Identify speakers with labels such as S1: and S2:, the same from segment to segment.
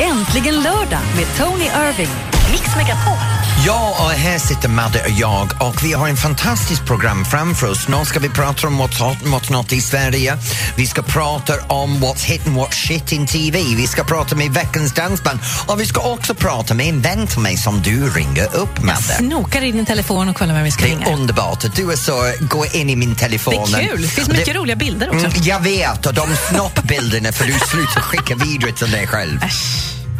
S1: Äntligen lördag med Tony Irving. Mix Megapol.
S2: Ja, och här sitter Madde och jag och vi har en fantastiskt program framför oss. Nu ska vi prata om what's hot and what's not i Sverige. Vi ska prata om what's hit and what's shit in TV. Vi ska prata med veckans dansband och vi ska också prata med en vän till mig som du ringer upp, Madde.
S3: Snokar i din telefon och kollar vem vi ska
S2: Det
S3: ringa.
S2: är underbart att du är så, går in i min telefon.
S3: Det är kul. Det finns
S2: Och
S3: mycket roliga bilder också.
S2: Mm, jag vet, och de snoppbilderna för du slutar skicka vidare till dig själv.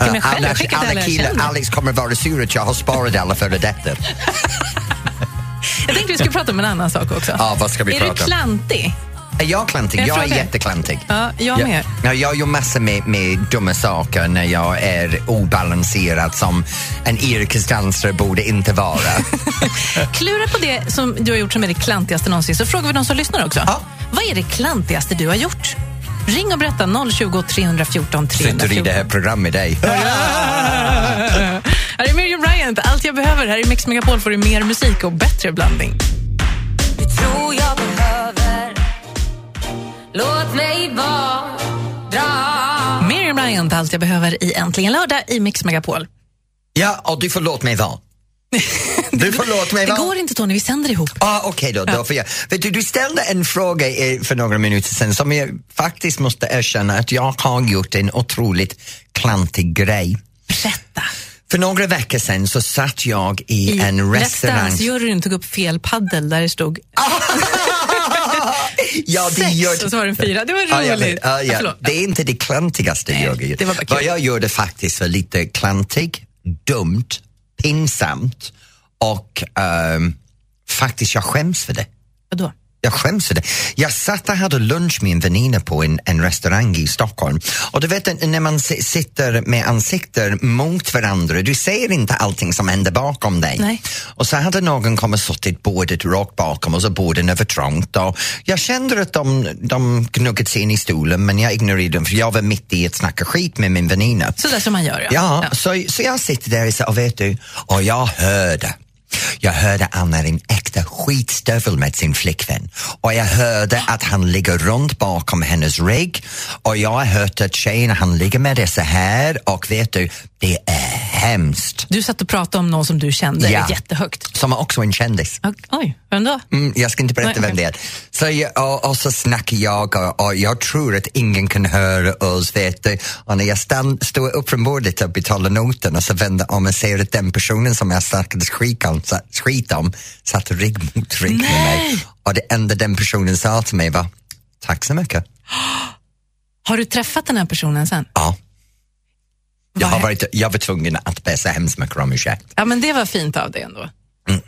S3: Till mig själv? Jag
S2: Annars,
S3: skickar till
S2: alla
S3: alla jag
S2: killar,
S3: känner.
S2: Alex kommer vara sur att jag har sparat alla före detta.
S3: Jag tänkte vi skulle prata om en annan sak också.
S2: Ja, vad ska vi
S3: är
S2: prata
S3: du
S2: om?
S3: klantig?
S2: Är jag klantig?
S3: Jag
S2: Jag,
S3: tror
S2: är
S3: det.
S2: jätteklantig.
S3: Ja, jag med.
S2: Ja, jag gör massor med, med dumma saker när jag är obalanserad som en yrkesdansare borde inte vara.
S3: Klura på det som du har gjort som är det klantigaste någonsin, så frågar vi de som lyssnar också.
S2: Ja.
S3: Vad är det klantigaste du har gjort? Ring och berätta 020 314
S2: Sitter i det
S3: 314.
S2: här programmet med dig.
S3: Här är Miriam Bryant, Allt jag behöver. Här i Mix Megapol får du mer musik och bättre blandning.
S4: Du tror jag behöver Låt mig vara
S3: Miriam Bryant, Allt jag behöver i Äntligen lördag i Mix Megapol.
S2: Ja, och du får låta mig vara. Du får låta mig
S3: Det
S2: vara.
S3: går inte Tony, vi sänder ihop.
S2: Ah, Okej då, då får jag. Vet du, du ställde en fråga eh, för några minuter sedan som jag faktiskt måste erkänna att jag har gjort en otroligt klantig grej.
S3: Berätta.
S2: För några veckor sedan så satt jag i,
S3: I
S2: en restaurang.
S3: Juryn tog upp fel paddel där det stod
S2: Ja,
S3: sex
S2: gör-
S3: och så var den fyra. Det var roligt.
S2: Ja, jag vet. Ja, ja.
S3: Förlåt.
S2: Det är inte det klantigaste
S3: Nej,
S2: jag gjorde.
S3: det var bara kul.
S2: Vad jag gjorde faktiskt var lite klantig, dumt, pinsamt och ehm, faktiskt jag skäms för det.
S3: Vadå?
S2: Jag skäms för det. Jag satt och hade lunch med en väninna på en, en restaurang i Stockholm. Och du vet när man si- sitter med ansikter mot varandra, du ser inte allting som händer bakom dig.
S3: Nej.
S2: Och så hade någon kommit och suttit bordet rakt bakom och så borden över trångt. Och jag kände att de, de gnuggade sig in i stolen men jag ignorerade dem för jag var mitt i att snacka skit med min väninna.
S3: Sådär som man gör, ja.
S2: Ja, Så, så jag sitter där och säger, och vet du, och jag hörde. Jag hörde han är en äkta skitstövel med sin flickvän och jag hörde att han ligger runt bakom hennes rygg och jag har hört att tjejen han ligger med är så här och vet du, det är hemskt.
S3: Du satt och pratade om någon som du kände
S2: Ja.
S3: jättehögt.
S2: Som är också en kändis.
S3: Och, oj, vem då?
S2: Mm, jag ska inte berätta
S3: Nej,
S2: vem det är. Så jag, och, och så snackar jag och, och jag tror att ingen kan höra oss. Vet du. Och när jag stand, står upp från bordet och betalar notan och så vänder om och ser att den personen som jag snackade skit om, sa- skit om satt rygg mot rygg med mig. Och det enda den personen sa till mig var tack så mycket.
S3: Har du träffat den här personen sen?
S2: Ja. Jag,
S3: Vad
S2: har
S3: hä-
S2: varit, jag var tvungen att be så hemskt mycket om ursäkt.
S3: Ja, men det var fint av dig ändå.
S2: Mm.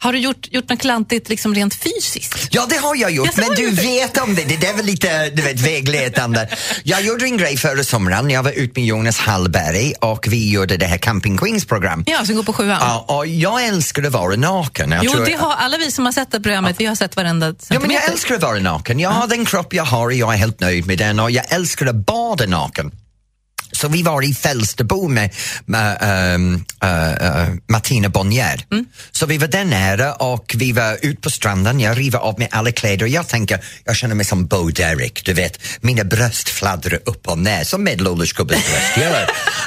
S3: Har du gjort, gjort något klantigt liksom rent fysiskt?
S2: Ja, det har jag gjort,
S3: Jaså,
S2: men
S3: har du
S2: du
S3: gjort det?
S2: vet om det. Det där var lite du vet, vägledande. Jag gjorde en grej förra sommaren. Jag var ute med Jonas Hallberg och vi gjorde det här Camping Queens program.
S3: Ja, som går på sjuan?
S2: Ja, och jag älskar att vara naken. Jag
S3: jo,
S2: tror-
S3: det har alla vi som har sett det programmet, vi har sett varenda
S2: Ja, men
S3: centimeter.
S2: jag älskar att vara naken. Jag har den kropp jag har och jag är helt nöjd med den och jag älskar att bada naken. Så vi var i Fälsterbo med, med ehm, eh, eh, Martina Bonnier. Så vi var där nere och vi var ute på stranden. Jag river av mig alla kläder och jag tänker, jag känner mig som Bo Derek, du vet. Mina bröst fladdrar upp och ner som medelålders gubbes bröst gör.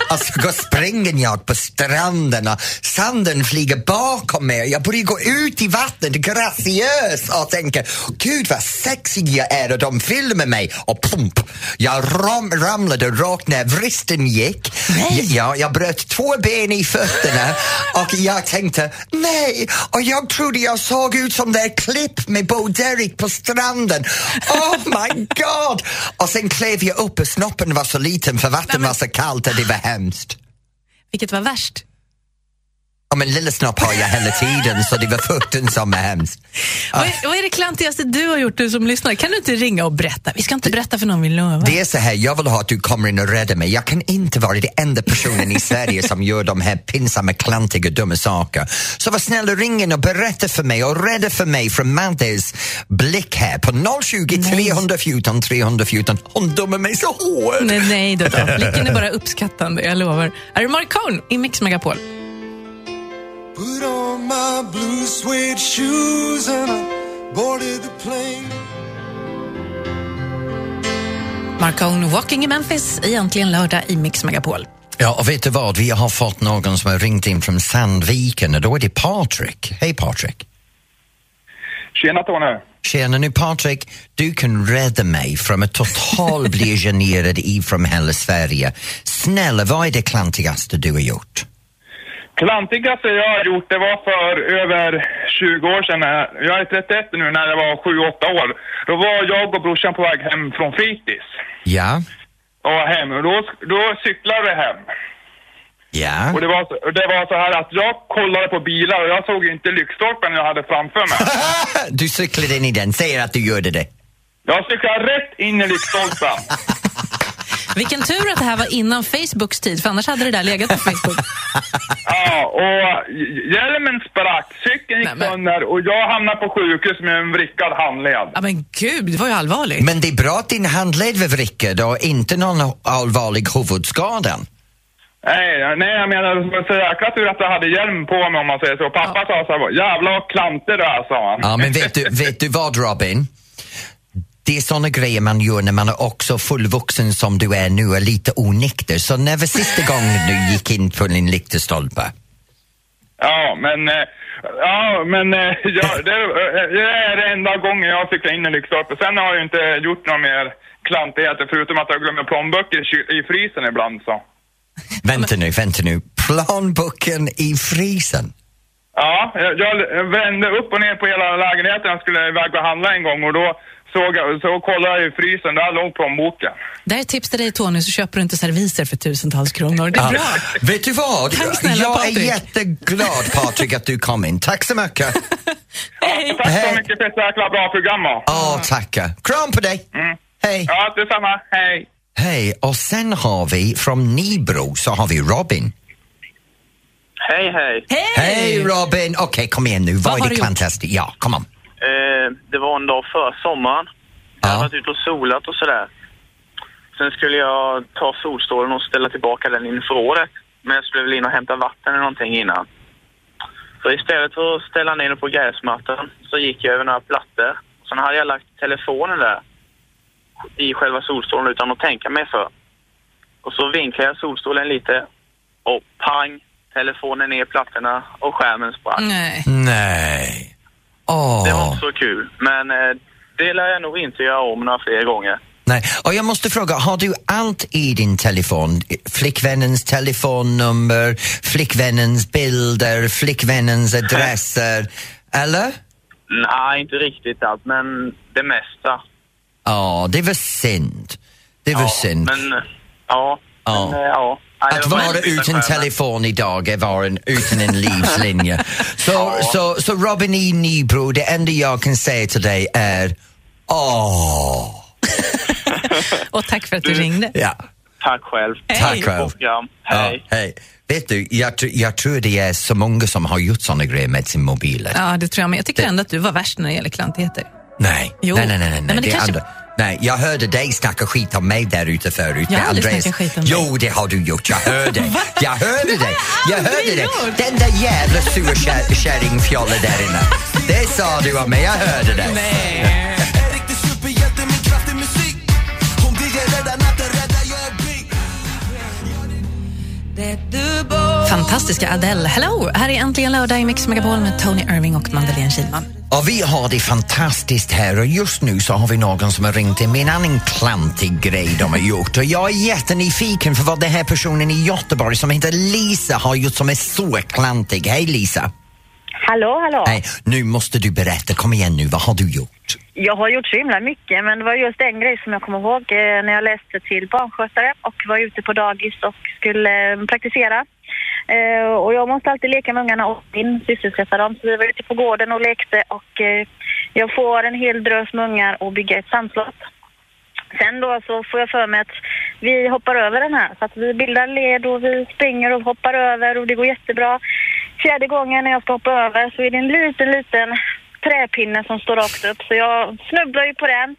S2: Alltså, då springer jag på stranden och sanden flyger bakom mig. Jag börjar gå ut i vattnet graciös och tänker, gud vad sexig jag är och de filmar mig och pump, jag ram, ramlade rakt ner, vristen gick.
S3: Nej.
S2: Ja, jag bröt två ben i fötterna och jag tänkte, nej, och jag trodde jag såg ut som det där klipp med Bo Derek på stranden. Oh my god! Och sen klev jag upp och snoppen var så liten för vatten var så kallt att det var hemskt.
S3: Vilket var värst?
S2: Ja, men lilla snopp har jag hela tiden så det var fukten som var hemskt.
S3: Vad, är, vad är det klantigaste du har gjort, du som lyssnar? Kan du inte ringa och berätta? Vi ska inte berätta för någon vi lovar.
S2: Det är så här, jag vill ha att du kommer in och räddar mig. Jag kan inte vara den enda personen i Sverige som gör de här pinsamma, klantiga, dumma saker. Så var snäll och ring in och berätta för mig och rädda för mig från Maddes blick här på 020 314 314. Hon dömer mig så hårt!
S3: Nej, nej då, då. Blicken är bara uppskattande, jag lovar. Här är Marcone i Mix Megapol.
S5: Put on my blue suede shoes and I boarded the plane.
S3: Marcone Walking in Memphis, egentligen lördag i Mix Megapol.
S2: Ja, och vet du vad? Vi har fått någon som har ringt in från Sandviken och då är det Patrik. Hej Patrik!
S6: Tjena Tony!
S2: Tjena nu Patrik, du kan rädda mig från att totalt bli generad ifrån hela Sverige. Snälla, vad är det klantigaste du har gjort?
S6: Klantigaste jag har gjort, det var för över 20 år sedan. när- Jag är 31 nu, när jag var 7-8 år. Då var jag och brorsan på väg hem från fritids.
S2: Ja,
S6: Och hem, och då, då cyklade vi hem.
S2: ja.
S6: Och det var, så- och det var så här att jag kollade på bilar och jag såg ju inte lyktstolpen jag hade framför mig.
S2: Du cyklade in i den, säger att du gjorde det.
S6: Jag cyklade rätt in i lyktstolpen.
S3: Vilken tur att det här var innan Facebooks tid, för annars hade det där legat på Facebook.
S6: Ja, och hj- hjälmen sprack, cykeln gick
S3: Nej, men-
S6: sönder och jag hamnade på sjukhus med en vrickad handled.
S3: Ja, men gud, det var ju allvarligt.
S2: Men det är bra att din handled var vrickad och inte någon allvarlig huvudskada.
S6: Nej, nej jag menar det var så jäkla tur att jag hade hjälm på mig om man säger så. Pappa sa så här, jävla vad klantig du är, sa han.
S2: Ja, men vet du, vet du vad Robin? Det är såna grejer man gör när man är också fullvuxen som du är nu och lite onykter. Så när var sista gången du gick in på din lyktestolpe?
S6: Ja, men, eh, ja, men eh, ja, det, eh, det är det enda gången jag cyklar in i Lyckstorp. Sen har jag ju inte gjort några mer klantigheter förutom att jag glömmer plånböcker i, kyl- i frysen ibland så.
S2: Vänta nu, vänta nu. Planboken i frysen?
S6: Ja, jag, jag vände upp och ner på hela lägenheten. Jag skulle iväg och handla en gång och då såg jag, så kollade jag i frysen, där låg plånboken.
S3: Det här är ett tips till dig Tony, så köper du inte serviser för tusentals kronor. Det är bra.
S2: Alltså, Vet du vad?
S3: Tack snälla,
S2: Jag är
S3: Patrik.
S2: jätteglad Patrik att du kom in. Tack så mycket.
S3: Hej!
S6: Tack
S2: Hej.
S6: så mycket för ett jäkla bra program. va.
S2: Ja, tackar. Kram på dig.
S3: Mm.
S2: Hej.
S6: Ja, detsamma. Hej.
S2: Hej, och sen har vi från Nybro så har vi Robin.
S7: Hej, hej.
S2: Hej, Robin! Okej, kom igen nu. Vad,
S3: har
S2: är
S3: du
S2: det
S3: gjort?
S2: klantigaste? Ja, kom on.
S7: Eh, det var en dag för sommaren. Jag hade
S2: Ja.
S7: varit ute och solat och sådär. Sen skulle jag ta solstolen och ställa tillbaka den in i förrådet. Men jag skulle väl in och hämta vatten eller någonting innan. Så istället för att ställa ner den på gräsmattan så gick jag över några plattor. Sen hade jag lagt telefonen där i själva solstolen utan att tänka mig för. Och så vinklade jag solstolen lite och pang! Telefonen ner i plattorna och skärmen sprack.
S3: Nej.
S2: Nej. Åh.
S7: Det var inte så kul, men eh, det lär jag nog inte göra om några fler gånger.
S2: Nej. Och jag måste fråga, har du allt i din telefon? Flickvännens telefonnummer, flickvännens bilder, flickvännens adresser, eller?
S7: Nej, inte riktigt allt, men det mesta.
S2: Ja, det var synd. Det var synd.
S7: Men, eh, ja.
S2: Ja.
S7: Men, eh, ja. Nej, det
S2: Att
S7: var
S2: vara
S7: inte riktigt
S2: utan
S7: skönt.
S2: telefon idag är vara en- utan en livslinje. Så, så, så Robin E. Nybro, det enda jag kan säga till dig är åh.
S3: Och tack för att du ringde.
S2: Ja,
S7: Tack själv.
S2: tack själv.
S7: Ja,
S2: Ja,
S7: hej.
S2: hej. Vet du, jag, tr- jag tror det är så många som har gjort såna grejer med sin mobiler.
S3: Ja, det tror jag, men jag tycker ändå att du var värst när det gäller klantigheter.
S2: Nej.
S3: Jo.
S2: nej, nej, nej, nej,
S3: Nej, men det
S2: det är
S3: kanske-
S2: andra. Nej, jag hörde dig snacka skit om mig där ute förut.
S3: Jag har
S2: med
S3: aldrig
S2: Andreas.
S3: snackat skit om dig.
S2: Jo, det har du gjort. Jag hörde dig. Jag hörde dig. Jag hörde
S3: aldrig
S2: dig.
S3: gjort.
S2: Den där jävla surkärringfjollen där inne. Det sa du om mig. Jag hörde dig.
S8: En riktig superhjälte med kraftig musik Om det är rädda natten, rädda jag är big
S3: Fantastiska Adele. Hello! Här är äntligen lördag i Mix Megapol med Tony Irving och Madeleine Kilman.
S2: Och vi har det fantastiskt här och just nu så har vi någon som har ringt in med en annan klantig grej de har gjort och jag är jättenyfiken för vad den här personen i Göteborg som heter Lisa har gjort som är så klantig. Hej Lisa!
S9: Hallå, hallå.
S2: Nej, nu måste du berätta. Kom igen nu, vad har du gjort?
S9: Jag har gjort så himla mycket, men det var just en grej som jag kommer ihåg eh, när jag läste till barnskötare och var ute på dagis och skulle eh, praktisera. Eh, och jag måste alltid leka med ungarna och in, sysselsätta dem. Så vi var ute på gården och lekte och eh, jag får en hel drös med ungar och bygga ett sandslott. Sen då så får jag för mig att vi hoppar över den här. Så att vi bildar led och vi springer och hoppar över och det går jättebra. Fjärde gången när jag ska hoppa över så är det en liten, liten träpinne som står rakt upp. Så jag snubblar ju på den,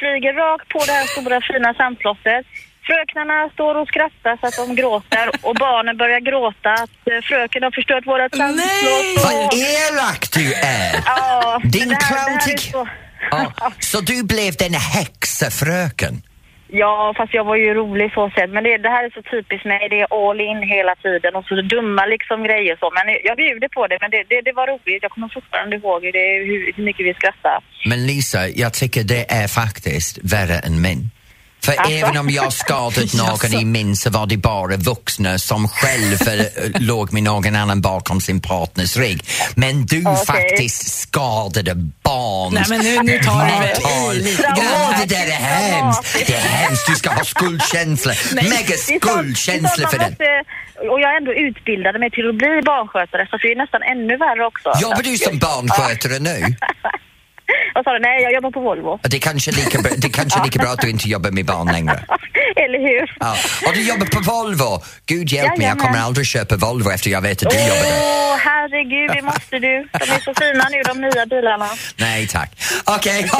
S9: flyger rakt på det här stora fina sandslottet. Fröknarna står och skrattar så att de gråter och barnen börjar gråta att eh, fröken har förstört vårat sandslott.
S2: Vad
S9: Och,
S2: elak du är!
S9: ja,
S2: Din
S9: det här- det här är
S2: klantig...
S9: så-
S2: Ja, så du blev den häxafröken?
S9: Ja, fast jag var ju rolig så sett. Men det, det här är så typiskt mig. Det är all in hela tiden och så dumma liksom grejer så. Men jag bjuder på det. Men det, det, det var roligt. Jag kommer fortfarande ihåg hur, det, hur hur mycket vi skrattade.
S2: Men Lisa, jag tycker det är faktiskt värre än min. För
S9: Alltså?
S2: även om jag skadat någon i min så var det bara vuxna som själv eh, låg med någon annan bakom sin partners rygg. Men du
S9: Okej.
S2: faktiskt skadade barn.
S3: Nej, men nu- nu tar du väl i lite
S2: Ja,
S3: grann här.
S2: det där är hemskt. Det är hemskt. Du ska ha skuldkänsla.
S9: Det
S2: Mega
S9: är sånt- det är
S2: skuldkänsla
S9: sånt
S2: för
S9: man
S2: det.
S9: måste- eh, Och jag ändå utbildade mig till att bli barnskötare så att det är nästan ännu värre också.
S2: Jobbar du som barnskötare nu?
S9: Vad sa du? Nej, jag jobbar på Volvo.
S2: Det är kanske lika bra, det är kanske lika bra att du inte jobbar med barn längre.
S9: Eller hur?
S2: Ja. Och du jobbar på Volvo. Gud hjälp mig, jag
S9: Jajamän.
S2: kommer aldrig köpa Volvo efter jag vet att du
S9: Åh,
S2: jobbar där.
S9: herregud, det måste du. De är så fina nu, de nya bilarna.
S2: Nej tack. Okej,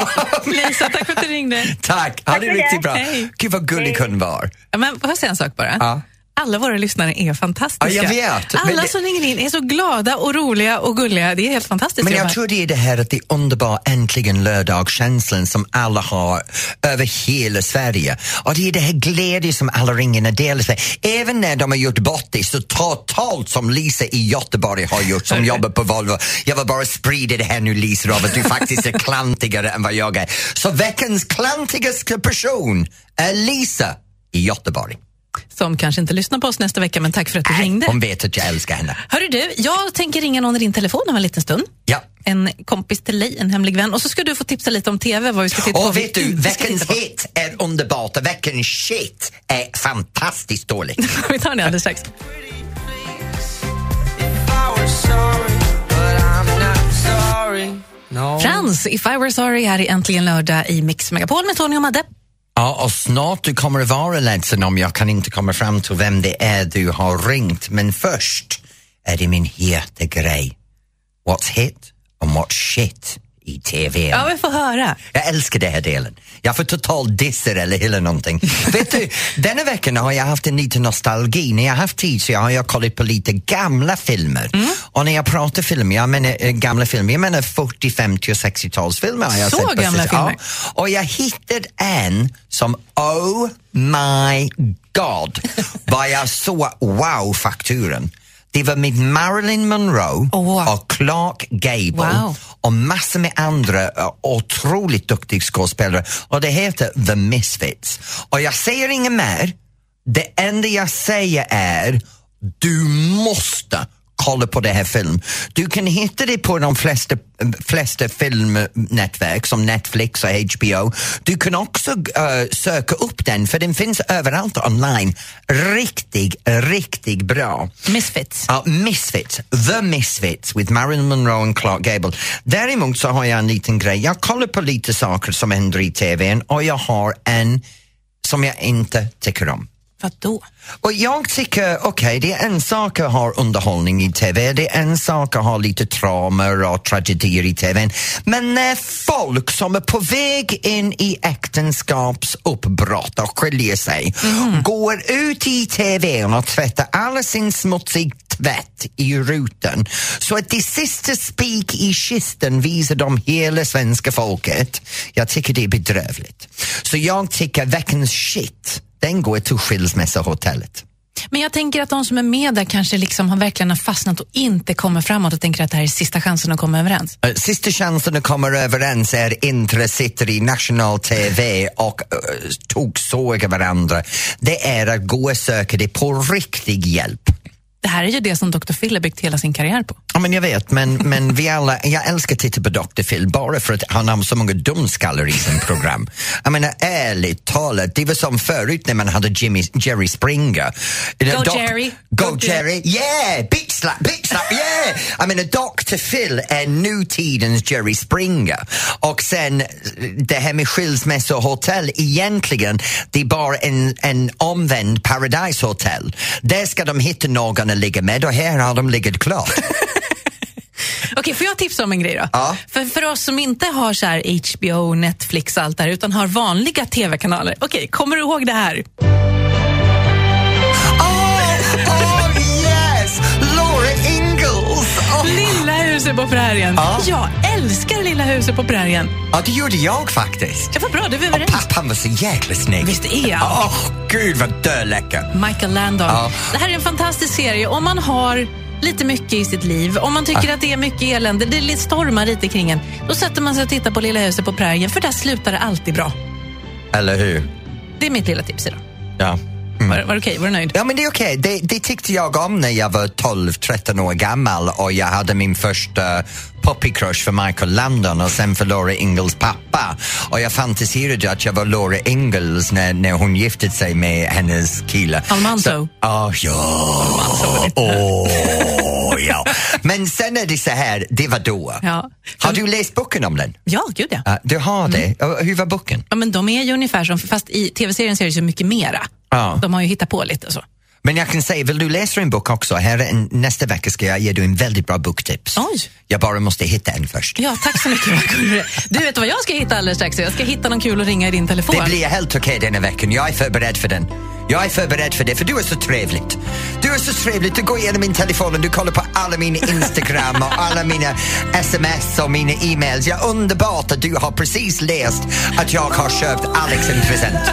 S3: Lisa, tack för att du ringde.
S2: tack. Ha
S9: Tack
S2: det
S9: så mycket.
S2: riktigt bra.
S3: Hej.
S2: Gud vad gullig hon var.
S3: Ja, Men får jag säga en sak bara?
S2: Ja.
S3: Alla våra lyssnare är fantastiska.
S2: Ja, jag vet, men
S3: Alla
S2: det-
S3: som ringer in är så glada och roliga och gulliga. Det är helt fantastiskt.
S2: Men jag
S3: Johan.
S2: tror det är det här att det är underbar äntligen lördagskänslan som alla har över hela Sverige. Och det är det här glädje som alla ringarna delar sig. Även när de har gjort bort det så totalt som Lisa i Göteborg har gjort som jobbar på Volvo. Jag vill bara sprida det här nu Lisa av att du faktiskt är klantigare än vad jag är. Så veckans klantigaste person är Lisa i Göteborg.
S3: Som kanske inte lyssnar på oss nästa vecka, men tack för att du ringde.
S2: Hon vet att jag älskar henne.
S3: Hörru du, jag tänker ringa någon i din telefon om en liten stund.
S2: Ja.
S3: En kompis till dig, en hemlig vän. Och så ska du få tipsa lite om TV, vad vi ska titta på.
S2: Och vet du,
S3: Vi ska
S2: veckans
S3: titta på.
S2: hit är underbart och veckans shit är fantastiskt dåligt.
S3: Vi tar det alldeles strax. Frans, If I Were Sorry här i Äntligen Lördag i Mix Megapol med Tony och Madde.
S2: Ja, och snart du kommer att vara ledsen om jag kan inte komma fram till vem det är du har ringt. Men först är det min heta grej. What's hit and what's shit i TV.
S3: Ja, vi får höra.
S2: Jag älskar den här delen. Jag får total disser eller hela någonting. Vet du, denna veckan har jag haft en liten nostalgi. När jag har haft tid så har jag kollat på lite gamla filmer.
S3: Mm.
S2: Och när jag pratar filmer, jag menar eh, gamla filmer, jag menar 40, 50 och 60-talsfilmer har jag
S3: Så
S2: sett på
S3: gamla
S2: sistone.
S3: filmer?
S2: Ja. Och jag hittade en som, oh my god, vad jag såg wow-fakturen. Det var med Marilyn Monroe
S3: Åh.
S2: och Clark Gable
S3: Wow.
S2: och massor med andra eh, otroligt duktiga skådespelare och det heter The Misfits. Och jag säger inget mer, det enda jag säger är du måste kolla på det här film. Du kan hitta det på de flesta, eh, flesta filmnätverk som Netflix och HBO. Du kan också eh, söka upp den för den finns överallt online. Riktigt, riktigt bra.
S3: Misfits.
S2: Ja, Misfits, The Misfits with Marilyn Monroe och Clark Gable. Däremot så har jag en liten grej. Jag kollar på lite saker som händer i tvn och jag har en som jag inte tycker om.
S3: Vadå?
S2: Och jag tycker, okej, det är en sak att ha underhållning i TV, det är en sak att ha lite traumer och tragedier i TV. Men när folk som är på väg in i äktenskapsuppbrott och skiljer sig går ut i TV och tvättar all sin smutsiga tvätt i rutan så att det sista spik i kisten visar de hela svenska folket. Jag tycker det är bedrövligt. Så jag tycker veckans shit den går till skilsmässohotellet.
S3: Men jag tänker att de som är med där kanske liksom har verkligen har fastnat och inte kommer framåt och tänker att det här är sista chansen att komma överens.
S2: Eh, Sista chansen att komma överens är inte sitter i national TV och uh, togsågar varandra. Det är att gå och söka det på riktig hjälp.
S3: Det här är ju det som Dr. Phil har byggt hela sin karriär på.
S2: Ja, men jag vet, men, men vi alla, jag älskar att titta på Dr. Phil bara för att han har så många dumskallar i sin program. Jag menar, ärligt talat, det var som förut när man hade Jimmy, Jerry Springer.
S3: Go, Jerry.
S2: Go,
S3: Go,
S2: Jerry! Yeah! Bitch slap, bitch slap, yeah! Jag menar, Dr. Phil är nutidens Jerry Springer. Och sen det här med skilsmässohotell, egentligen det är bara en, en omvänd Paradise Hotel. Där ska de hitta någon att ligga med och här har de legat klart.
S3: Okej, får jag tipsa om en grej då?
S2: Ja.
S3: För, för oss som inte har så här HBO, Netflix och allt det här, utan har vanliga TV-kanaler. Okej, kommer du ihåg det här?
S2: Oh, oh yes! Laura Ingalls! Oh.
S3: Lilla huset huset på prärien.
S2: Ja.
S3: Jag älskar Lilla huset på prärien.
S2: Ja, det gjorde jag faktiskt.
S3: Det var bra, du var
S2: Och
S3: överens.
S2: pappan var så jäkla snygg.
S3: Visst är han?
S2: Åh, gud vad döläcker.
S3: Michael Landon.
S2: Ja.
S3: Det här är en fantastisk serie. Om man har lite mycket i sitt liv, om man tycker att det är mycket elände, det är lite stormar lite kring en, då sätter man sig och tittar på Lilla huset på prärien, för där slutar det alltid bra.
S2: Eller hur?
S3: Det är mitt lilla tips idag.
S2: Ja. Mm.
S3: Var, var det okej? Var du nöjd?
S2: Ja men det är okej, det, det tyckte jag om när jag var 12-13 år gammal och jag hade min första puppy crush för Michael Landon och sen för Laura Ingalls pappa. Och jag fantiserade att jag var Laura Ingalls när, när hon gifte sig med hennes kille.
S3: Almanzo.
S2: Så- Ah, ja, Åh, ja. Men sen är det så här, det var då.
S3: Ja.
S2: Har du läst boken om den?
S3: Ja, gud ja.
S2: Ja, du har det?
S3: Mm.
S2: Ja, Hur var boken?
S3: ja. Men de är ju ungefär som, fast i tv-serien så är det så mycket mera.
S2: Ja.
S3: De har ju hittat på lite så.
S2: Men jag kan säga, vill du läsa en bok också? Här är en, nästa vecka ska jag ge dig en väldigt bra boktips.
S3: Oj.
S2: Jag bara måste hitta en först.
S3: Ja, tack så mycket. vad kul. Du vet vad jag ska hitta alldeles strax? Jag ska hitta någon kul att ringa i din telefon.
S2: Det blir helt okej denna veckan. Jag är förberedd för den. Jag är förberedd för det, för du är så trevligt. Du är så trevligt. Du går igenom min telefon och du kollar på alla mina Instagram och alla mina sms och mina e-mails. Jag är underbart att du har precis läst att jag har köpt Alex en present.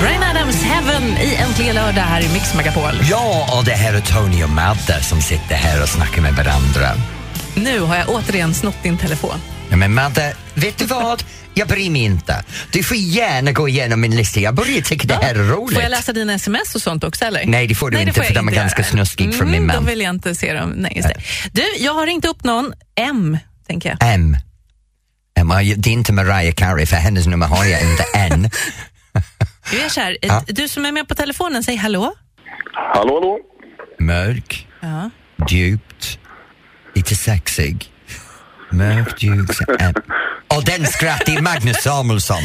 S3: Bryan Adams, Heaven, i Äntligen lördag här i Mix Megapol.
S2: Ja, och det här är Tony och Madde som sitter här och snackar med varandra.
S3: Nu har jag återigen snott din telefon.
S2: Ja, Men Madde, vet du vad? Jag bryr mig inte. Du får gärna gå igenom min lista. Jag börjar tycka det här är roligt.
S3: Får jag läsa dina sms och sånt också? eller?
S2: Nej, det får du inte,
S3: får jag
S2: för de är ganska snuskigt från min man.
S3: Då vill jag inte se dem. Nej, just det. Du, jag har ringt upp någon. M, tänker jag.
S2: M. M. ja, Det är inte Mariah Carey, för hennes nummer har jag inte än.
S3: Du, är så här, du som är med på telefonen, säg hallå.
S7: Hallå, hallå.
S2: Mörk,
S3: Ja.
S2: djupt, lite sexig. Mörkt, djupt, se- M. Och den skrattar är Magnus Samuelsson.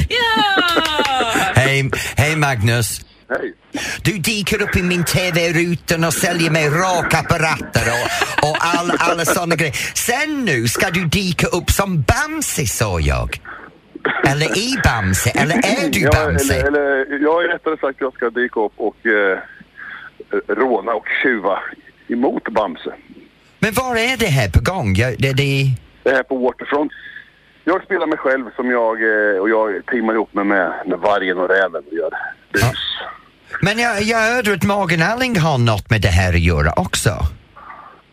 S2: Hej, hej Magnus.
S7: Hej.
S2: Du dyker upp i min TV-rutan och säljer mig rakapparater och, och all, alla sådana grejer. Sen nu ska du dyka upp som Bamse, sa jag. Eller i Bamse, eller är du
S7: Ja,
S2: Bamse?
S7: eller, eller, jag är rättare sagt, jag ska dyka upp och eh, råna och tjuva emot Bamse.
S2: Men var är det här på gång? Jag, det, det,
S7: Det här på Waterfront. Jag spelar mig själv som jag eh, och jag teamar ihop mig med, med vargen och räven och gör bus.
S2: men jag, jag hörde att Morgan Alling har något med det här att göra också.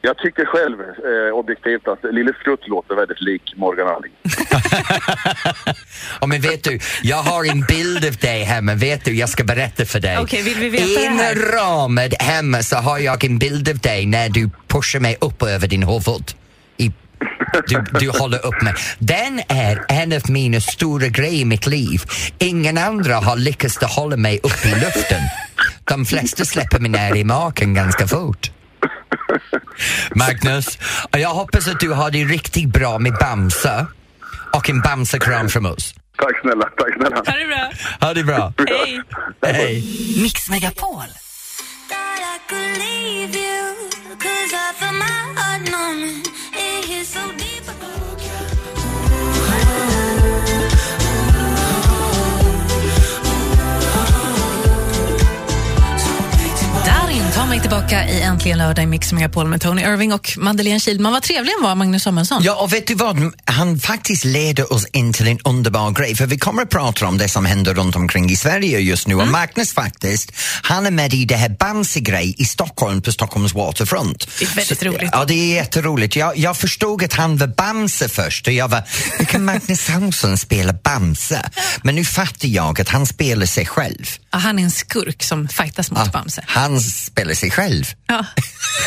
S7: Jag tycker själv eh, objektivt att Lille Strutt låter väldigt lik Morgan Alling.
S2: Ja, men vet du, jag har en bild av dig hemma, vet du, jag ska berätta för dig.
S3: Okej, vill vi veta det här?
S2: Inramad hemma så har jag en bild av dig när du pushar mig upp över din huvud. I, du, du håller upp mig. Den är en av mina stora grejer i mitt liv. Ingen andra har lyckats att hålla mig uppe i luften. De flesta släpper mig ner i marken ganska fort. Magnus, jag hoppas att du har det riktigt bra med Bamse och en Bamsekram från oss.
S7: Tack snälla, tack snälla.
S3: Ha det bra.
S2: Ha det bra.
S3: Hej.
S2: Hej.
S1: Mix Megapol.
S3: Darin, ta mig tillbaka i Äntligen lördag i Mix Megapol med Tony Irving och Madeleine Kilman. Vad trevlig han var, Magnus Samuelsson.
S2: Ja, och vet du vad? Han faktiskt leder oss in till en underbar grej, för vi kommer att prata om det som händer runt omkring i Sverige just nu.
S3: Mm.
S2: Och Magnus faktiskt, han är med i det här Bamse-grej i Stockholm på Stockholms Waterfront.
S3: Det är väldigt
S2: Så-
S3: roligt.
S2: Ja, det är jätteroligt. Jag, jag förstod att han var Bamse först och jag var, hur kan Magnus Samuelsson spela Bamse? Men nu fattar jag att han spelar sig själv.
S3: Ja, han är en skurk som fightas mot Bamse.
S2: Han spelar sig själv.
S3: Ja.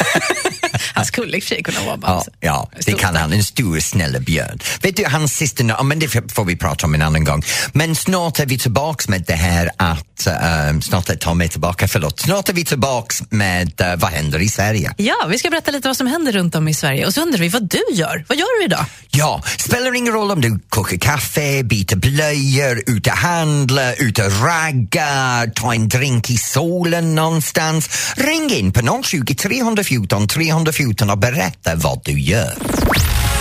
S3: han skulle i och för sig kunna vara
S2: Ja,
S3: Bamse.
S2: ja, det
S3: Stor.
S2: kan han. En stor snäll björn. Vet du, hans syster, ja, men det får vi prata om en annan gång. Men snart är vi tillbaks med det här att, ehm, snart är, ta mig tillbaka, förlåt. Snart är vi tillbaks med eh, vad händer i Sverige?
S3: Ja, vi ska berätta lite vad som händer runt om i Sverige. Och så undrar vi vad du gör. Vad gör du idag?
S2: Ja, spelar ingen roll om du kokar kaffe, byter blöjor, ute och handlar, ute och raggar, tar en drink i solen någonstans. Ring in på 020 314 314 och berätta vad du gör.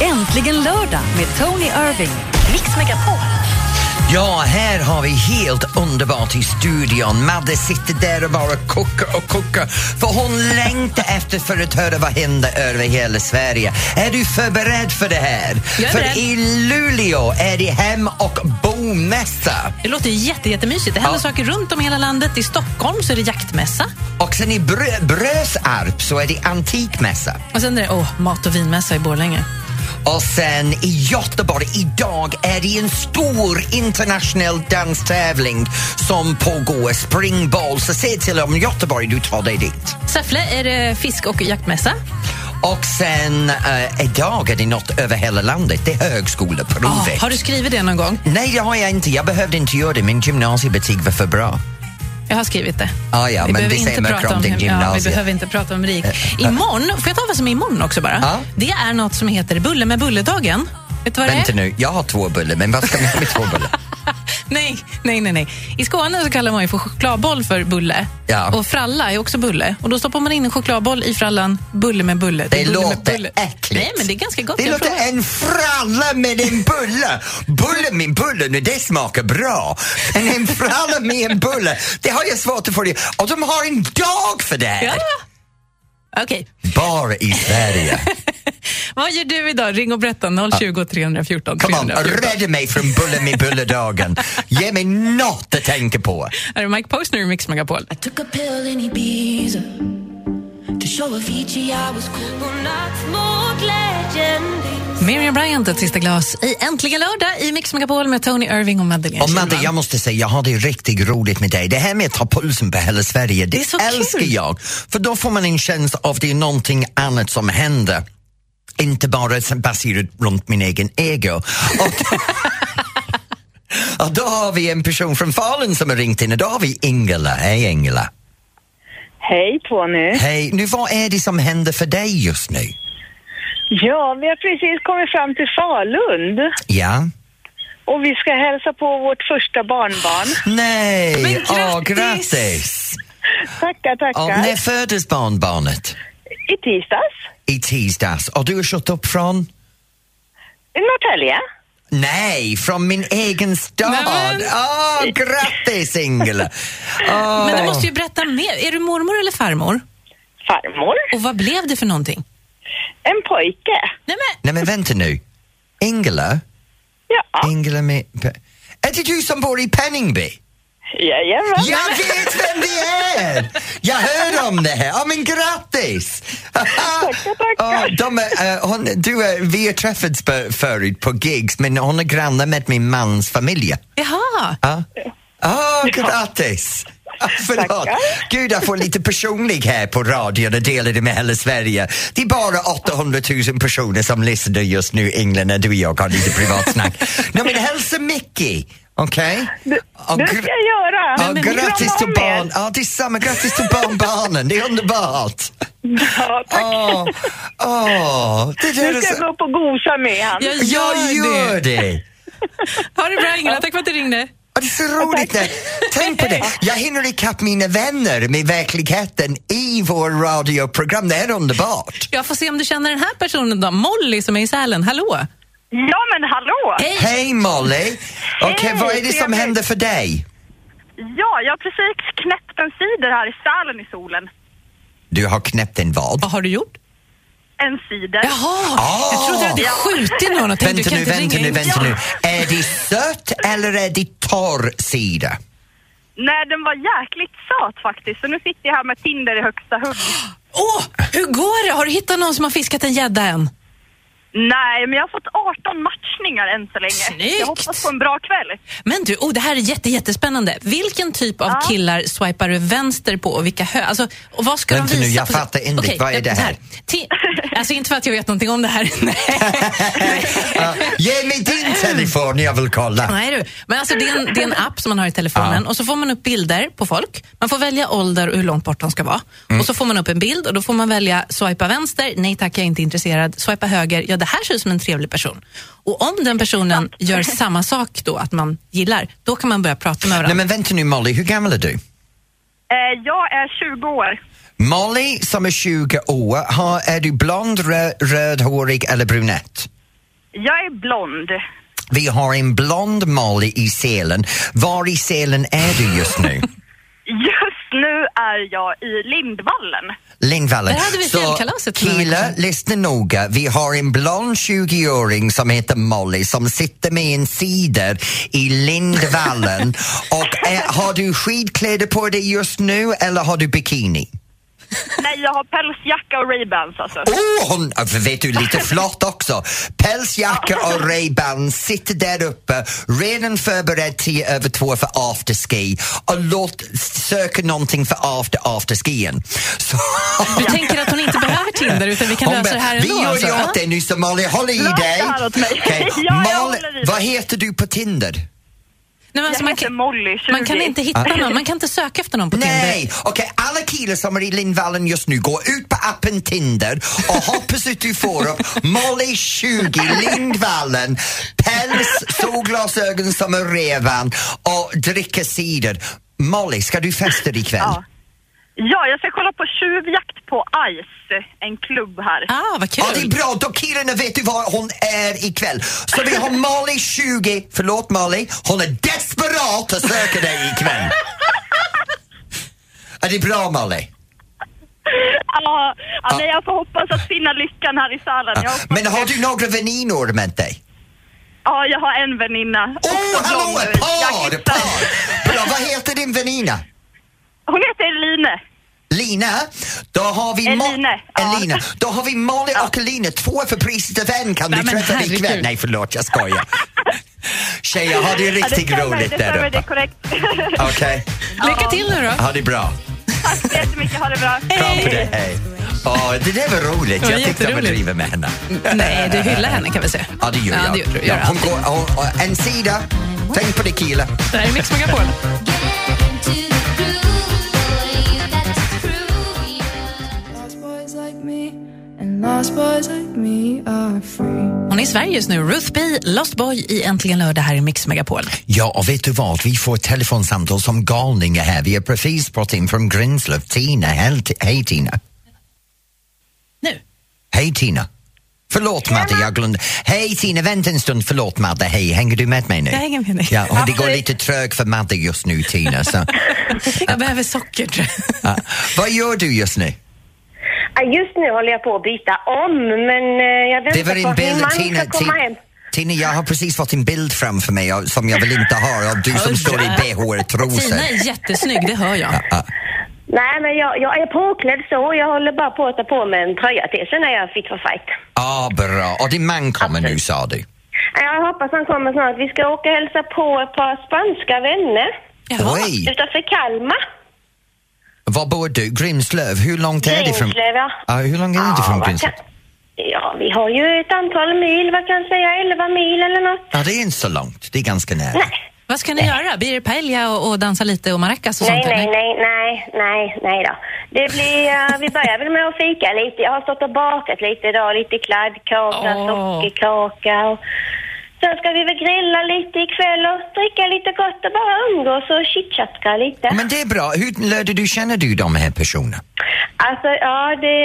S1: Äntligen lördag med Tony Irving. Mix Megapol.
S2: Ja, här har vi helt underbart i studion. Madde sitter där och bara kokar och kokar för hon längtar efter för att höra vad händer över hela Sverige. Är du förberedd för det här?
S3: Jag är
S2: för
S3: beredd.
S2: i Luleå är det hem och bomässa.
S3: Det låter jätte, jättemysigt. Det händer
S2: Ja.
S3: saker runt om i hela landet. I Stockholm så är det jaktmässa.
S2: Och sen i Brö- Brösarp så är det antikmässa.
S3: Och sen är det åh, mat och vinmässa i Borlänge.
S2: Och sen i Göteborg idag är det en stor internationell danstävling som pågår, springball. Så se till om Göteborg du tar dig dit.
S3: Säffle är det fisk och jaktmässa.
S2: Och sen eh, idag är det något över hela landet. Det är
S3: Ah,
S2: högskoleprovet.
S3: har du skrivit det någon gång?
S2: Nej, det har jag inte. Jag behövde inte göra det. Min gymnasiebetyg var för bra.
S3: Jag har skrivit det.
S2: Ah, ja, men
S3: vi behöver
S2: det
S3: inte
S2: säger mycket
S3: prata
S2: om
S3: om
S2: din
S3: hur- ja, vi
S2: gymnasie.
S3: behöver inte prata om rik. Imorgon, får jag ta vad som är imorgon också bara?
S2: Ja.
S3: Det är något som heter Bulle med bulledagen. Vet du vad det
S2: Vänta
S3: är?
S2: nu, jag har två bullar, men vad ska man göra med två bullar?
S3: Nej, nej, nej, nej. I Skåne så kallar man ju för chokladboll för bulle.
S2: Ja.
S3: Och fralla är också bulle. Och då stoppar man in en chokladboll i frallan, bulle med bulle.
S2: Det
S3: är bulle med
S2: låter
S3: bulle.
S2: äckligt.
S3: Nej, men det är ganska gott.
S2: Det
S3: Jag
S2: låter
S3: provar.
S2: en fralla med en bulle. Bulle min bulle, nu det smakar bra. Men en fralla med en bulle, det har jag svårt att få det. Och de har en dag för det här.
S3: Ja. Okej,
S2: Bara i Sverige.
S3: vad gör du idag? Ring och berätta 020 314
S2: Kom on,
S3: 314.
S2: rädda mig från bulle med bulle-dagen. Ge mig något att tänka på.
S3: Här är Mike Postner i Mix Megapol.
S4: Took a pill in Ibiza To show Avicii I was cool Hon natt mot legend
S3: Miriam Bryant, ett sista glas i Äntligen lördag i Mix Megapol med Tony Irving och Madeleine
S2: Och Madde,
S3: Kihlman.
S2: jag måste säga, jag har det riktigt roligt med dig. Det här med att ta pulsen på hela Sverige, det,
S3: är så
S2: älskar
S3: kul.
S2: jag. För då får man en känsla av det är någonting annat som händer. Inte bara som baserat runt min egen ego. Och, och då har vi en person från Falun som har ringt in och då har vi Ingela. Hej Ingela.
S9: Hej Tony.
S2: Hej, nu vad är det som händer för dig just nu?
S9: Ja, vi har precis kommit fram till Falund
S2: Ja?
S9: och vi ska hälsa på vårt första barnbarn.
S2: Nej!
S3: Men
S2: Åh,
S3: grattis!
S2: grattis!
S9: Tackar,
S2: Och
S9: tackar.
S2: när föddes barnbarnet?
S9: I tisdags,
S2: I tisdags. Och du har kört upp från?
S9: i Norrtälje.
S2: Nej, från min egen stad!
S3: Nej, men-
S2: Åh, grattis Ingela! Åh.
S3: Men du måste ju berätta mer. Är du mormor eller farmor?
S9: Farmor,
S3: Och vad blev det för någonting?
S9: en pojke.
S3: Nej, men...
S2: Nej men vänta nu. Ingela?
S9: Ja,
S2: Ingela med... Pe- Är det du som bor i Penningby?
S9: jajamän.
S2: Jag vet vem det är! Jag hör om det här. Ja, men grattis!
S9: Tackar, tackar.
S2: Ja, de är, eh, hon, du, är- vi har träffats för, förut på gigs, men hon är granne med min mans familj.
S3: Jaha.
S2: Ja. Ah, grattis! Ah, Förlåt.
S9: Tackar.
S2: Gud, jag får lite personlig här på radion och delar det med hela Sverige. Det är bara 800 000 personer som lyssnar just nu, England, när du och jag har lite privatsnack. Nej, men hälsa Mickey! Okej? Okay?
S9: Det ska jag göra.
S2: Ja,
S9: Men- men
S2: grattis
S9: krama
S2: till
S9: om er.
S2: barn. Ja, det är samma. Grattis till barnbarnen. Det är underbart.
S9: Ja, tack.
S2: Åh, åh. Det där
S9: Nu
S2: är
S9: ska jag gå
S2: så...
S9: upp och gosa med han.
S3: Jag gör,
S2: Jag gör
S3: det.
S2: det.
S3: Ha det bra, Ingela. Tack för att du ringde.
S2: Ja, det är så roligt. När, tänk på det. Jag hinner ikapp mina vänner med verkligheten i vår radioprogram. Det här är underbart.
S3: Jag får se om du känner den här personen då. Molly som är i Sälen. Hallå!
S9: Ja, men hallå!
S3: Hej!
S2: Hej Molly! Okej,
S9: Hej,
S2: vad är det som
S9: trevligt.
S2: händer för dig?
S9: Ja, jag har precis knäppt en cider här i Sälen i solen.
S2: Du har knäppt en vad?
S3: Vad har du gjort?
S9: En cider.
S3: Jaha!
S2: Ah.
S3: Jag trodde du hade skjutit någon och tänkte
S2: Vänta
S3: du kan
S2: nu,
S3: inte
S2: vänta
S3: ringa
S2: nu,
S3: in.
S2: vänta
S9: Ja.
S2: nu. Är det sött eller är det torr sida?
S9: Nej, den var jäkligt söt faktiskt. Så nu sitter jag här med Tinder i högsta hugg.
S3: Åh, hur går det? Har du hittat någon som har fiskat en gädda än?
S9: Nej, men jag har fått 18 matchningar än så länge.
S3: Snyggt!
S9: Jag hoppas på en bra kväll.
S3: Men du, oh, det här är jätte, jättespännande. Vilken typ av killar swipar du vänster på och vilka hö... Alltså, och vad ska
S2: Vänta
S3: de
S2: nu,
S3: visa
S2: jag
S3: på-
S2: fattar inte.
S3: Okej,
S2: Vad är det här?
S3: Ti- Alltså inte för att jag vet någonting om det här. Nej.
S2: Ja, ge mig din telefon, jag vill kolla.
S3: Nej du, men alltså det är, en, det är en app som man har i telefonen och så får man upp bilder på folk. Man får välja ålder och hur långt bort de ska vara.
S2: Mm.
S3: Och så får man upp en bild och då får man välja swipa vänster, nej tack jag är inte intresserad, swipa höger, ja det här ser ut som en trevlig person. Och om den personen gör samma sak då, att man gillar, då kan man börja prata med
S2: Nej
S3: varandra.
S2: men vänta nu Molly, hur gammal är du?
S9: Eh, jag är 20 år.
S2: Molly som är 20 år, har, är du blond, rö- rödhårig eller brunett?
S9: Jag är blond.
S2: Vi har en blond Molly i Sälen. Var i Sälen är du just nu?
S9: Just nu är jag i Lindvallen.
S2: Lindvallen.
S3: Där hade vi
S2: Så
S3: fjällkalaset för några
S2: killar,
S3: veckor
S2: lyssna noga. Vi har en blond 20-åring som heter Molly som sitter med en cider i Lindvallen. och eh, har du skidkläder på dig just nu eller har du bikini?
S9: Nej, jag har pälsjacka och Ray-Bans alltså.
S2: Oh, hon, äh, vet du, lite flott också. Pälsjacka och Ray-Ban sitter där uppe, redan förberedd tio över två för afterski och låt, söker någonting för after afterskien. Så,
S3: Du tänker att hon inte behöver Tinder utan vi kan
S2: hon
S3: lösa
S2: bara,
S3: det här
S2: vi
S3: ändå?
S2: gjorde
S3: alltså.
S2: åt dig nyss, så Molly, håll i
S9: Lös det
S2: dig.
S9: här åt mig.
S2: Okej,
S9: Ja, jag
S2: Molly,
S9: håller i
S2: vad
S9: mig.
S2: heter du på Tinder?
S3: Nej, men alltså,
S9: Jag
S3: man,
S9: heter
S3: kan,
S9: Molly, 20.
S3: man kan inte hitta någon, man kan inte söka efter någon på Tinder.
S2: Ah. Nej, okej, alla killar som är i Lindvallen just nu, gå ut på appen Tinder och hoppas att du får upp Molly 20 Lindvallen, päls, solglasögon som en revan och dricka cider. Molly, ska du festa ikväll?
S9: Ja. ja, jag ska kolla på tjuvjakt på Ice, en klubb här.
S3: Ah, vad kul!
S2: Ja, det är bra. Då killarna vet du var hon är ikväll. Så vi har Molly 20, förlåt Molly, hon är desperat att söka dig ikväll. Är det bra Molly?
S9: Ja, ja, nej, jag får hoppas att finna lyckan här i Sälen. Jag hoppas
S2: Ah, Men har
S9: det.
S2: du några väninnor med dig?
S9: Ja, jag har en väninna.
S2: Åh,
S9: Också
S2: Oh, hallå!
S9: blond.
S2: Ett
S9: Jag
S2: par!
S9: kissar.
S2: Ett par! Bra, vad heter din väninna?
S9: Hon heter Eline.
S2: Lina? Då har vi Mo-
S9: Eline, ja.
S2: Elina. Då har vi Molly och Elina, två för priset av en kan
S3: Nej,
S2: du
S3: men
S2: träffa
S3: herregud.
S2: ikväll. Nej, förlåt, jag skojar. Tjejer, har det
S9: Ja, det
S2: riktigt
S9: stämmer,
S2: roligt
S9: det
S2: där
S9: stämmer, Det är
S2: uppe.
S9: korrekt.
S2: Okej,
S3: Lycka till nu då!
S2: ha det bra.
S9: Tack så jättemycket, ha det bra.
S2: Kram på dig, hej. Åh, det där var roligt.
S3: Det var
S2: Jag tyckte jag
S3: jätteroligt.
S2: överdriver med henne.
S3: Nej, du hyllar henne kan vi säga.
S2: Ja, det gör
S3: ja,
S2: jag.
S3: Det gör, du,
S2: Ja,
S3: gör
S2: hon
S3: allt.
S2: går, hon, hon- en sida. Tänk på det killar.
S3: Det här är Mix Megapol.
S4: Lost boys like me and lost boys like me are free.
S3: Hon är i Sverige just nu. Ruth B, Lost Boy i Äntligen lördag här i Mix Megapol.
S2: Ja, och vet du vad? Vi får telefonsamtal som galningar här. Vi har precis fått in från Grinslöv. Tina, hej, hej Tina.
S3: Nu.
S2: Hej Tina. Förlåt Madde, jag glömde. Hej Tina, vänta en stund. Förlåt Madde, hej. Hänger du med mig nu?
S3: Jag hänger med dig.
S2: Ja, och det går
S3: Absolut.
S2: lite trögt för Madde just nu Tina. Så.
S3: Jag behöver socker tror
S2: Ja.
S3: jag.
S2: Vad gör du just nu?
S10: Ja, Just nu håller jag på att byta om, men eh, jag
S2: Det var
S10: väntar på att
S2: en
S10: min
S2: bild,
S10: man
S2: Tina.
S10: ska komma
S2: Ti-
S10: hem.
S2: Tina, jag har precis fått en bild framför mig av- som jag vill inte ha av du som
S3: Oj.
S2: står i bh-trosor.
S3: Tina är jättesnygg, det hör jag.
S10: Nej, men jag, jag är påklädd så. Jag håller bara på att ta på mig en tröja till, sen är jag fit for fight.
S2: Ja, bra. Och din man kommer nu sa du?
S10: Ja, Jag hoppas han kommer snart. Vi ska åka och hälsa på ett par spanska vänner
S3: Jaha.
S2: Oj,
S10: utanför Kalmar.
S2: var bor du? Grimslöv? Hur långt är det från...
S10: Grimslöv, ja.
S2: Ja, hur långt är det från
S10: vad
S2: Grimslöv?
S10: kan- Ja, vi har ju ett antal mil, vad kan jag säga, 11 mil eller något.
S2: Ja, det är inte så långt. Det är ganska nära.
S10: Nej.
S3: Vad ska ni göra? Blir det paella och, och dansa lite och maracas och
S10: Nej,
S3: alltså sånt?
S10: nej,
S3: eller?
S10: nej, nej, nej, nej då. Det blir, eh, vi börjar väl med att fika lite. Jag har stått och bakat lite idag, lite kladdkaka,
S3: Åh.
S10: sockerkaka och sen ska vi väl grilla lite ikväll och dricka lite gott och bara umgås och chitchatta lite.
S2: Men det är bra. Hur lärde du känna du de här personerna?
S10: Alltså, ja, det...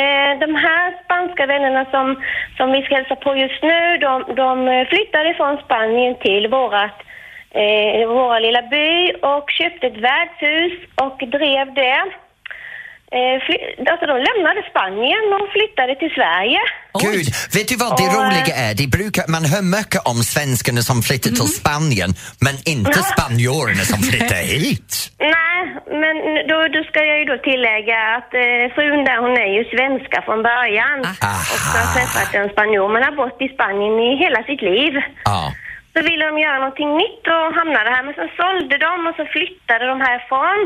S10: Eh, de här spanska vännerna som, som vi ska hälsa på just nu, de, de eh, flyttade från Spanien till vårat, eh, våra lilla by och köpte ett värdshus och drev det. Eh, fly- alltså, de lämnade Spanien och flyttade till Sverige.
S3: Oj.
S2: Gud, vet du vad det
S10: Och, eh,
S2: roliga är? Det brukar, man hör mycket om svenskarna som flyttar
S10: Mhm.
S2: till Spanien, men inte spanjorerna som flyttar hit.
S10: Nej, men då, då ska jag ju då tillägga att eh, frun där, hon är ju svenska från början.
S2: Aha.
S10: Och så har träffat en spanjor, men har bott i Spanien i hela sitt liv.
S2: Ja.
S10: Så ville de göra någonting nytt och hamnade här, men sen sålde de och så flyttade de härifrån.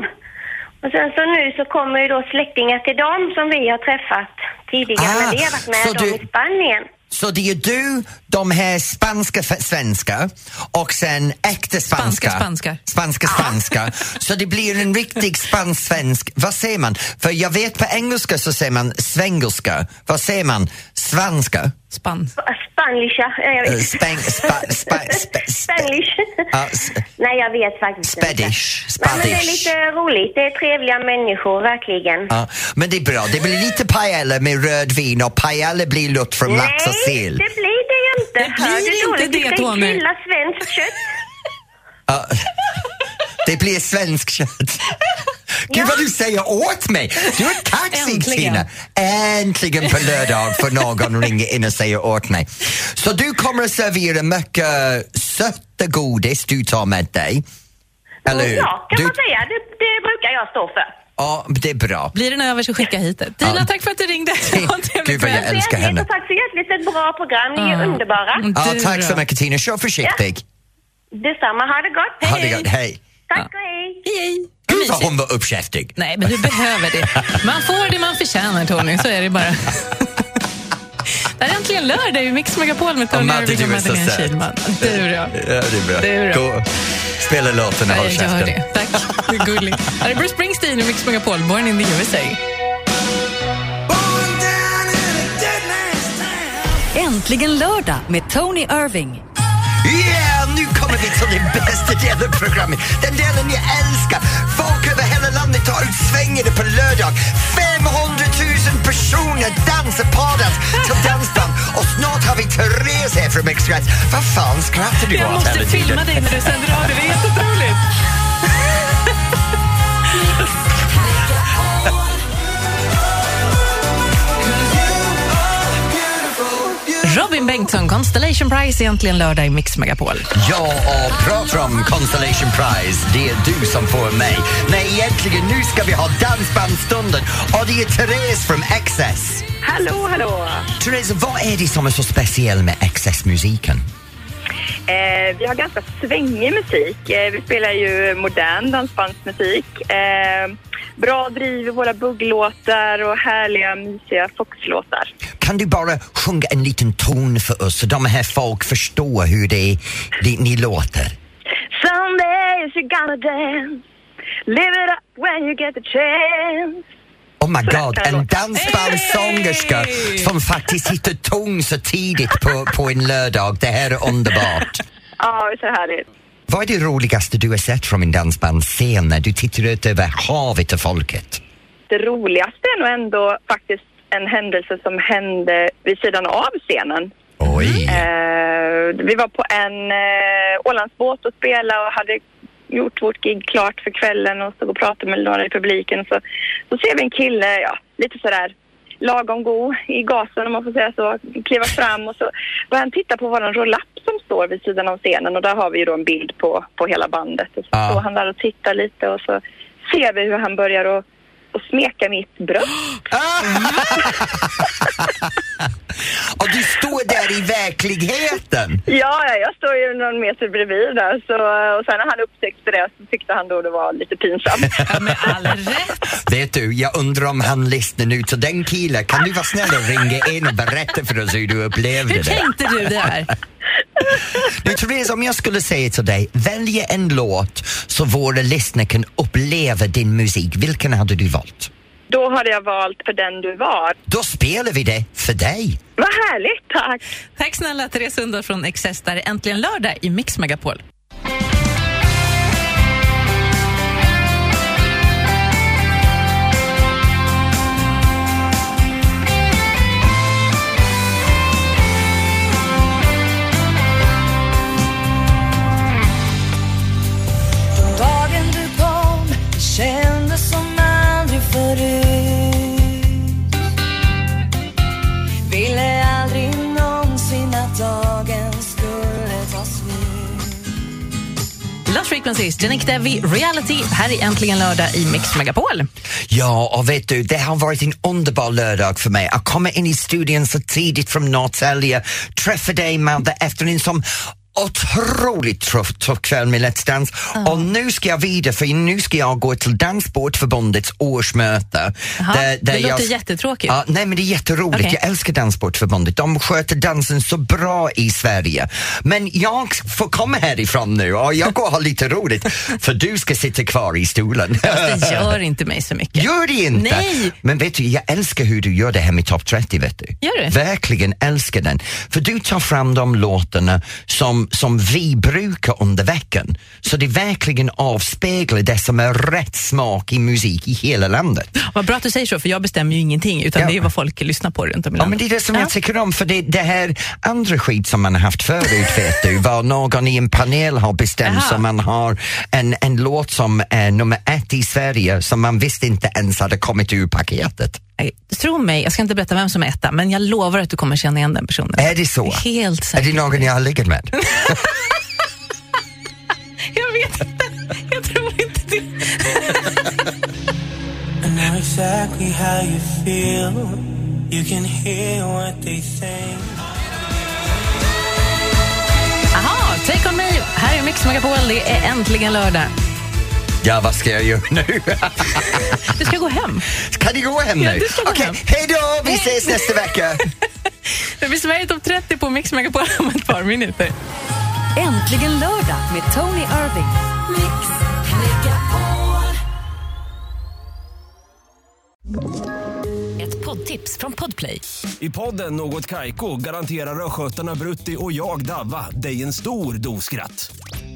S10: Och sen så nu så kommer ju då släktingar till dem som vi har träffat tidigare när
S2: Ah,
S10: vi har varit med
S2: så
S10: dem
S2: du-
S10: i Spanien.
S2: Så det är du, de här spanska f- svenska och sen äkta spanska.
S3: Spanska spanska.
S2: Spanska spanska. Så det blir en riktig spansk-svensk. Vad säger man? För jag vet på engelska så säger man svengelska. Vad säger man? Svanska?
S3: Spann.
S10: Spanlisha. eh, jag
S2: Eh,
S10: vet-
S2: Spang... Spa, spa, spa, spa,
S10: Spanglish.
S2: Ja, s-
S10: Nej, jag vet faktiskt
S2: Spedish,
S10: inte. Nej, men det är
S2: spadish.
S10: lite roligt. Det är trevliga människor, verkligen.
S2: Ja, men det är bra. Det blir lite paella med rödvin och paella blir lutt från lax och
S10: Nej,
S2: sill.
S10: det blir det ju skämtar!
S3: Det blir
S10: Hör du
S3: inte
S10: dåligt?
S3: det,
S10: Du ska
S3: Tony.
S10: ju grilla svenskt kött.
S2: Ja. det blir svensk kött. Gud vad du säger åt mig! Du är kaxig
S3: Äntligen.
S2: Tina! Äntligen på lördag får någon ringa in och säga åt mig. Så du kommer att servera mycket söta godis du tar med dig. Eller hur?
S10: Ja, kan
S2: du,
S10: man säga. Det, det brukar jag stå för.
S2: ja, det är bra.
S3: Blir den över så skicka hit det. Tina,
S2: Ja.
S3: tack för att du ringde. Ha en trevlig
S2: Gud, vad jag
S3: kväll.
S2: älskar henne.
S10: Och tack så hjärtligt för ett bra program. Ni är
S3: Ah.
S10: underbara.
S2: Ja, Mm.
S3: Du
S2: tack så
S3: då?
S2: mycket Tina, kör försiktig.
S10: Detsamma. Ha det gott.
S2: Ha det gott, hej.
S10: Tack och hej.
S3: Hej, hej.
S2: Gud vad hon var uppkäftig.
S3: Nej, men du behöver det. Man får det man förtjänar, Tony. Så är det bara. Det här är äntligen lördag i Mix Megapol med Tony
S2: Madde,
S3: Irving och
S2: du är så
S3: Madeleine
S2: söt.
S3: Kihlman. Du då?
S2: Ja, det är bra.
S3: Det är bra.
S2: Gå, spela låten och
S3: Ja,
S2: håll
S3: jag gör
S2: käften.
S3: det. Tack. Du är gullig. Här är Bruce Springsteen i Mix Megapol, Born in the USA.
S1: Äntligen lördag med Tony Irving.
S2: Yeah, nu kommer vi till den bästa delen av programmet. Den delen jag älskar. Folk över hela landet tar ut svängande på lördag. 500 000 personer dansar padat till dansband. Och snart har vi Therese här från Express. Vad fan skrattar du
S3: Jag
S2: åt
S3: måste
S2: hela tiden?
S3: filma dig när du sänder av dig. Det är jätteroligt. Robin Bengtsson, Constellation Prize, egentligen lördag i Mix Megapol.
S2: Ja, och pratar om Constellation Prize, det är du som får mig. Nej, egentligen nu ska vi ha dansbandsstunden och det är Therese från XS.
S11: Hallå, hallå!
S2: Therese, vad är det som är så speciellt med XS-musiken?
S11: Eh, vi har ganska svängig musik. Eh, vi spelar ju modern dansbandsmusik. Eh, bra driv i våra bugglåtar och härliga, mysiga foxlåtar.
S2: Kan du bara sjunga en liten ton för oss så de här folk förstår hur det, det ni låter?
S11: Someday you gonna dance Live it up when you get the chance
S2: Oh my god, en dansbandssångerska som faktiskt hittar ton så tidigt på, på en lördag. Det här är underbart.
S11: Ja, det är så härligt.
S2: Vad är det roligaste du har sett från en dansbandsscen när du tittar ut över havet och folket?
S11: Det roligaste är nog ändå faktiskt en händelse som hände vid sidan av scenen.
S2: Oj!
S11: Eh, vi var på en eh, Ålandsbåt och spelade och hade gjort vårt gig klart för kvällen och stod och pratade med några i publiken. Så, så ser vi en kille, ja, lite sådär lagom god i gasen om man får säga så, kliva fram och så börjar han titta på våran rollapp som står vid sidan av scenen och där har vi ju då en bild på, på hela bandet. Och så
S2: Ja.
S11: står han där och tittar lite och så ser vi hur han börjar att att smeka mitt bröst.
S2: Och du står där i verkligheten!
S11: Ja, ja, jag står ju någon meter bredvid där. Så, och sen när han upptäckte det så tyckte han då det var lite pinsamt.
S2: Vet du, jag undrar om han lyssnar nu, så den killen, kan du vara snäll och ringa in och berätta för oss hur du upplevde
S3: Hur
S2: det?
S3: tänkte du där?
S2: Nu Therese, om jag skulle säga till dig, välj en låt så våra lyssnare kan uppleva din musik, vilken hade du valt?
S11: Då hade jag valt För den du var.
S2: Då spelar vi det för dig!
S11: Vad härligt, tack!
S3: Tack snälla Therese Sundar från XS, där är äntligen lördag i Mix Megapol.
S4: Den dagen du kom det kändes som aldrig förut Ville aldrig någonsin att dagen skulle ta slut
S3: Lost Frequencies, Janik Devi, Reality, här är äntligen lördag i Mix Megapol.
S2: Ja, och vet du, det har varit en underbar lördag för mig att komma in i studion så tidigt från Norrtälje, träffa dig Madde efter en sån otroligt tuff, tuff kväll med Let's Dance och nu ska jag vidare för nu ska jag gå till Danssportförbundets årsmöte.
S3: Jaha, det låter
S2: jag-
S3: jättetråkigt.
S2: Ja, nej men det är jätteroligt,
S3: Okej.
S2: jag älskar Danssportförbundet. De sköter dansen så bra i Sverige. Men jag får komma härifrån nu och jag går och har lite roligt för du ska sitta kvar i stolen.
S3: Det gör inte mig så mycket.
S2: Gör det inte!
S3: Nej.
S2: Men vet du, jag älskar hur du gör det här med topp 30, vet du.
S3: Gör du?
S2: Verkligen älskar den. För du tar fram de låtarna som som, som vi brukar under veckan. Så det verkligen avspeglar det som är rätt smak i musik i hela landet.
S3: Vad bra att du säger så, för jag bestämmer ju ingenting utan det är ju vad folk lyssnar på runt om i
S2: Ja, men
S3: landet.
S2: det är det som jag tycker om, för det, det här andra skit som man har haft förut, vet du, vad någon i en panel har bestämt så man har en, en låt som är nummer ett i Sverige som man visste inte ens hade kommit ur paketet.
S3: Nej, Tro mig, jag ska inte berätta vem som är etta, men jag lovar att du kommer känna igen den personen.
S2: Är det så?
S3: Helt
S2: Är
S3: säkert.
S2: det någon jag har legat med?
S3: Jag vet inte. Jag tror inte det.
S8: I know exactly how you feel. You can hear what they say.
S3: Aha, Take On Me, här är Mix Megapol, det är äntligen lördag.
S2: Ja, vad ska jag göra nu?
S3: Du ska gå hem.
S2: Kan du gå hem nu?
S3: Ja, du ska gå
S2: Okej,
S3: hem.
S2: hej då! Vi ses nästa vecka!
S3: Det blir Sverige topp 30 på Mix Megapol om ett par minuter.
S1: Äntligen lördag med Tony Irving. Ett poddtips från Podplay.
S12: I podden Något Kaiko garanterar östgötarna Brutti och jag, Davva, dig en stor dos skratt.